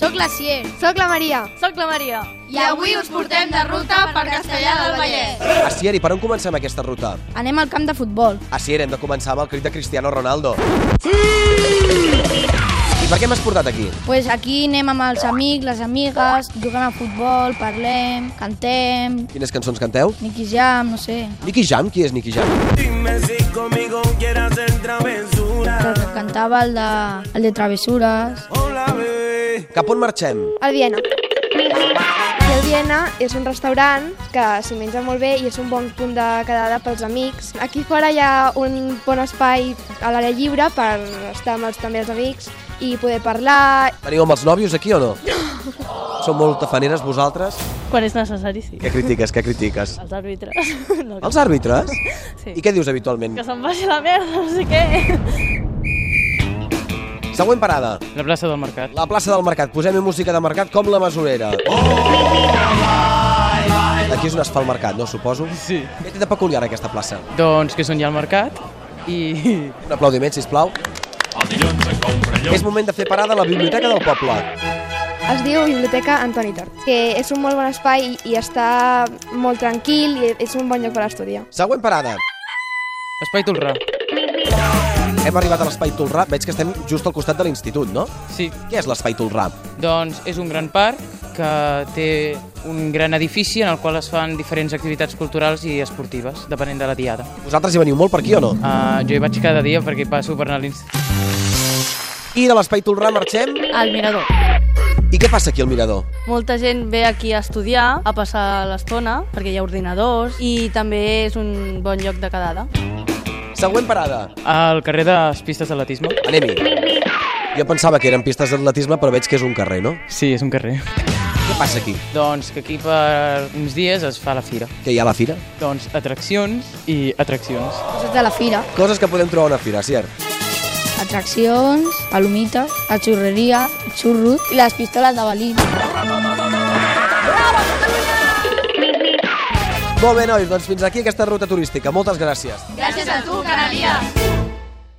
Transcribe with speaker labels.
Speaker 1: Soc la Cier.
Speaker 2: Soc la Maria.
Speaker 3: Soc la Maria.
Speaker 1: I avui us portem de ruta per Castellà del Vallès.
Speaker 4: A Sier, i per on comencem aquesta ruta?
Speaker 1: Anem al camp de futbol.
Speaker 4: A Sier, hem de començar amb el crit de Cristiano Ronaldo. I per què m'has portat aquí?
Speaker 1: Pues aquí anem amb els amics, les amigues, juguem a futbol, parlem, cantem,
Speaker 4: Quines cançons canteu?
Speaker 1: Nicky Jam, no sé,
Speaker 4: Nicky Jam? Qui és Nicky Jam?
Speaker 1: que cantava el de, el de travessures.
Speaker 4: Cap on marxem?
Speaker 2: El Viena. I el Viena és un restaurant que s'hi menja molt bé i és un bon punt de quedada pels amics. Aquí fora hi ha un bon espai a l'aire lliure per estar amb els, també els amics i poder parlar.
Speaker 4: Veniu amb els nòvios aquí o no? Són molt tafaneres vosaltres?
Speaker 3: Quan és necessari, sí.
Speaker 4: Què critiques, què critiques?
Speaker 3: Els àrbitres. No,
Speaker 4: Els àrbitres?
Speaker 3: Sí.
Speaker 4: I què dius habitualment?
Speaker 3: Que se'n vagi la merda, no sé què.
Speaker 4: Següent parada.
Speaker 5: La plaça del mercat.
Speaker 4: La plaça del Mercat. Posem-hi música de mercat com la mesurera. Aquí és on es fa el mercat, no? Suposo.
Speaker 5: Sí.
Speaker 4: Què té de peculiar aquesta plaça?
Speaker 5: Doncs que són ja al mercat i...
Speaker 4: Un aplaudiment, sisplau. És moment de fer parada a la biblioteca del poble.
Speaker 2: Es diu Biblioteca Antoni Tort, que és un molt bon espai i, i està molt tranquil i és un bon lloc per estudiar.
Speaker 4: Següent parada.
Speaker 5: Espai Tolrà.
Speaker 4: Hem arribat a l'Espai Tolrà. Veig que estem just al costat de l'institut, no?
Speaker 5: Sí.
Speaker 4: Què és l'Espai Tolrà?
Speaker 5: Doncs és un gran parc que té un gran edifici en el qual es fan diferents activitats culturals i esportives, depenent de la diada.
Speaker 4: Vosaltres hi veniu molt per aquí o no?
Speaker 5: Uh, jo hi vaig cada dia perquè hi passo per anar a l'institut.
Speaker 4: I de l'Espai Tolrà marxem.
Speaker 3: Al mirador.
Speaker 4: I què passa aquí al mirador?
Speaker 6: Molta gent ve aquí a estudiar, a passar l'estona, perquè hi ha ordinadors, i també és un bon lloc de quedada.
Speaker 4: Següent parada.
Speaker 5: Al carrer de les pistes d'atletisme.
Speaker 4: Anem-hi. Jo pensava que eren pistes d'atletisme, però veig que és un carrer, no?
Speaker 5: Sí, és un carrer.
Speaker 4: Què passa aquí?
Speaker 5: Doncs que aquí per uns dies es fa la fira.
Speaker 4: Que hi ha a la fira?
Speaker 5: Doncs atraccions i atraccions.
Speaker 1: coses de la fira,
Speaker 4: Coses que podem trobar a una fira, cert?
Speaker 1: atraccions, palomites, la xurreria, xurros i les pistoles de balí.
Speaker 4: Molt bé, nois, doncs fins aquí aquesta ruta turística. Moltes gràcies.
Speaker 1: Gràcies a tu, Canalies!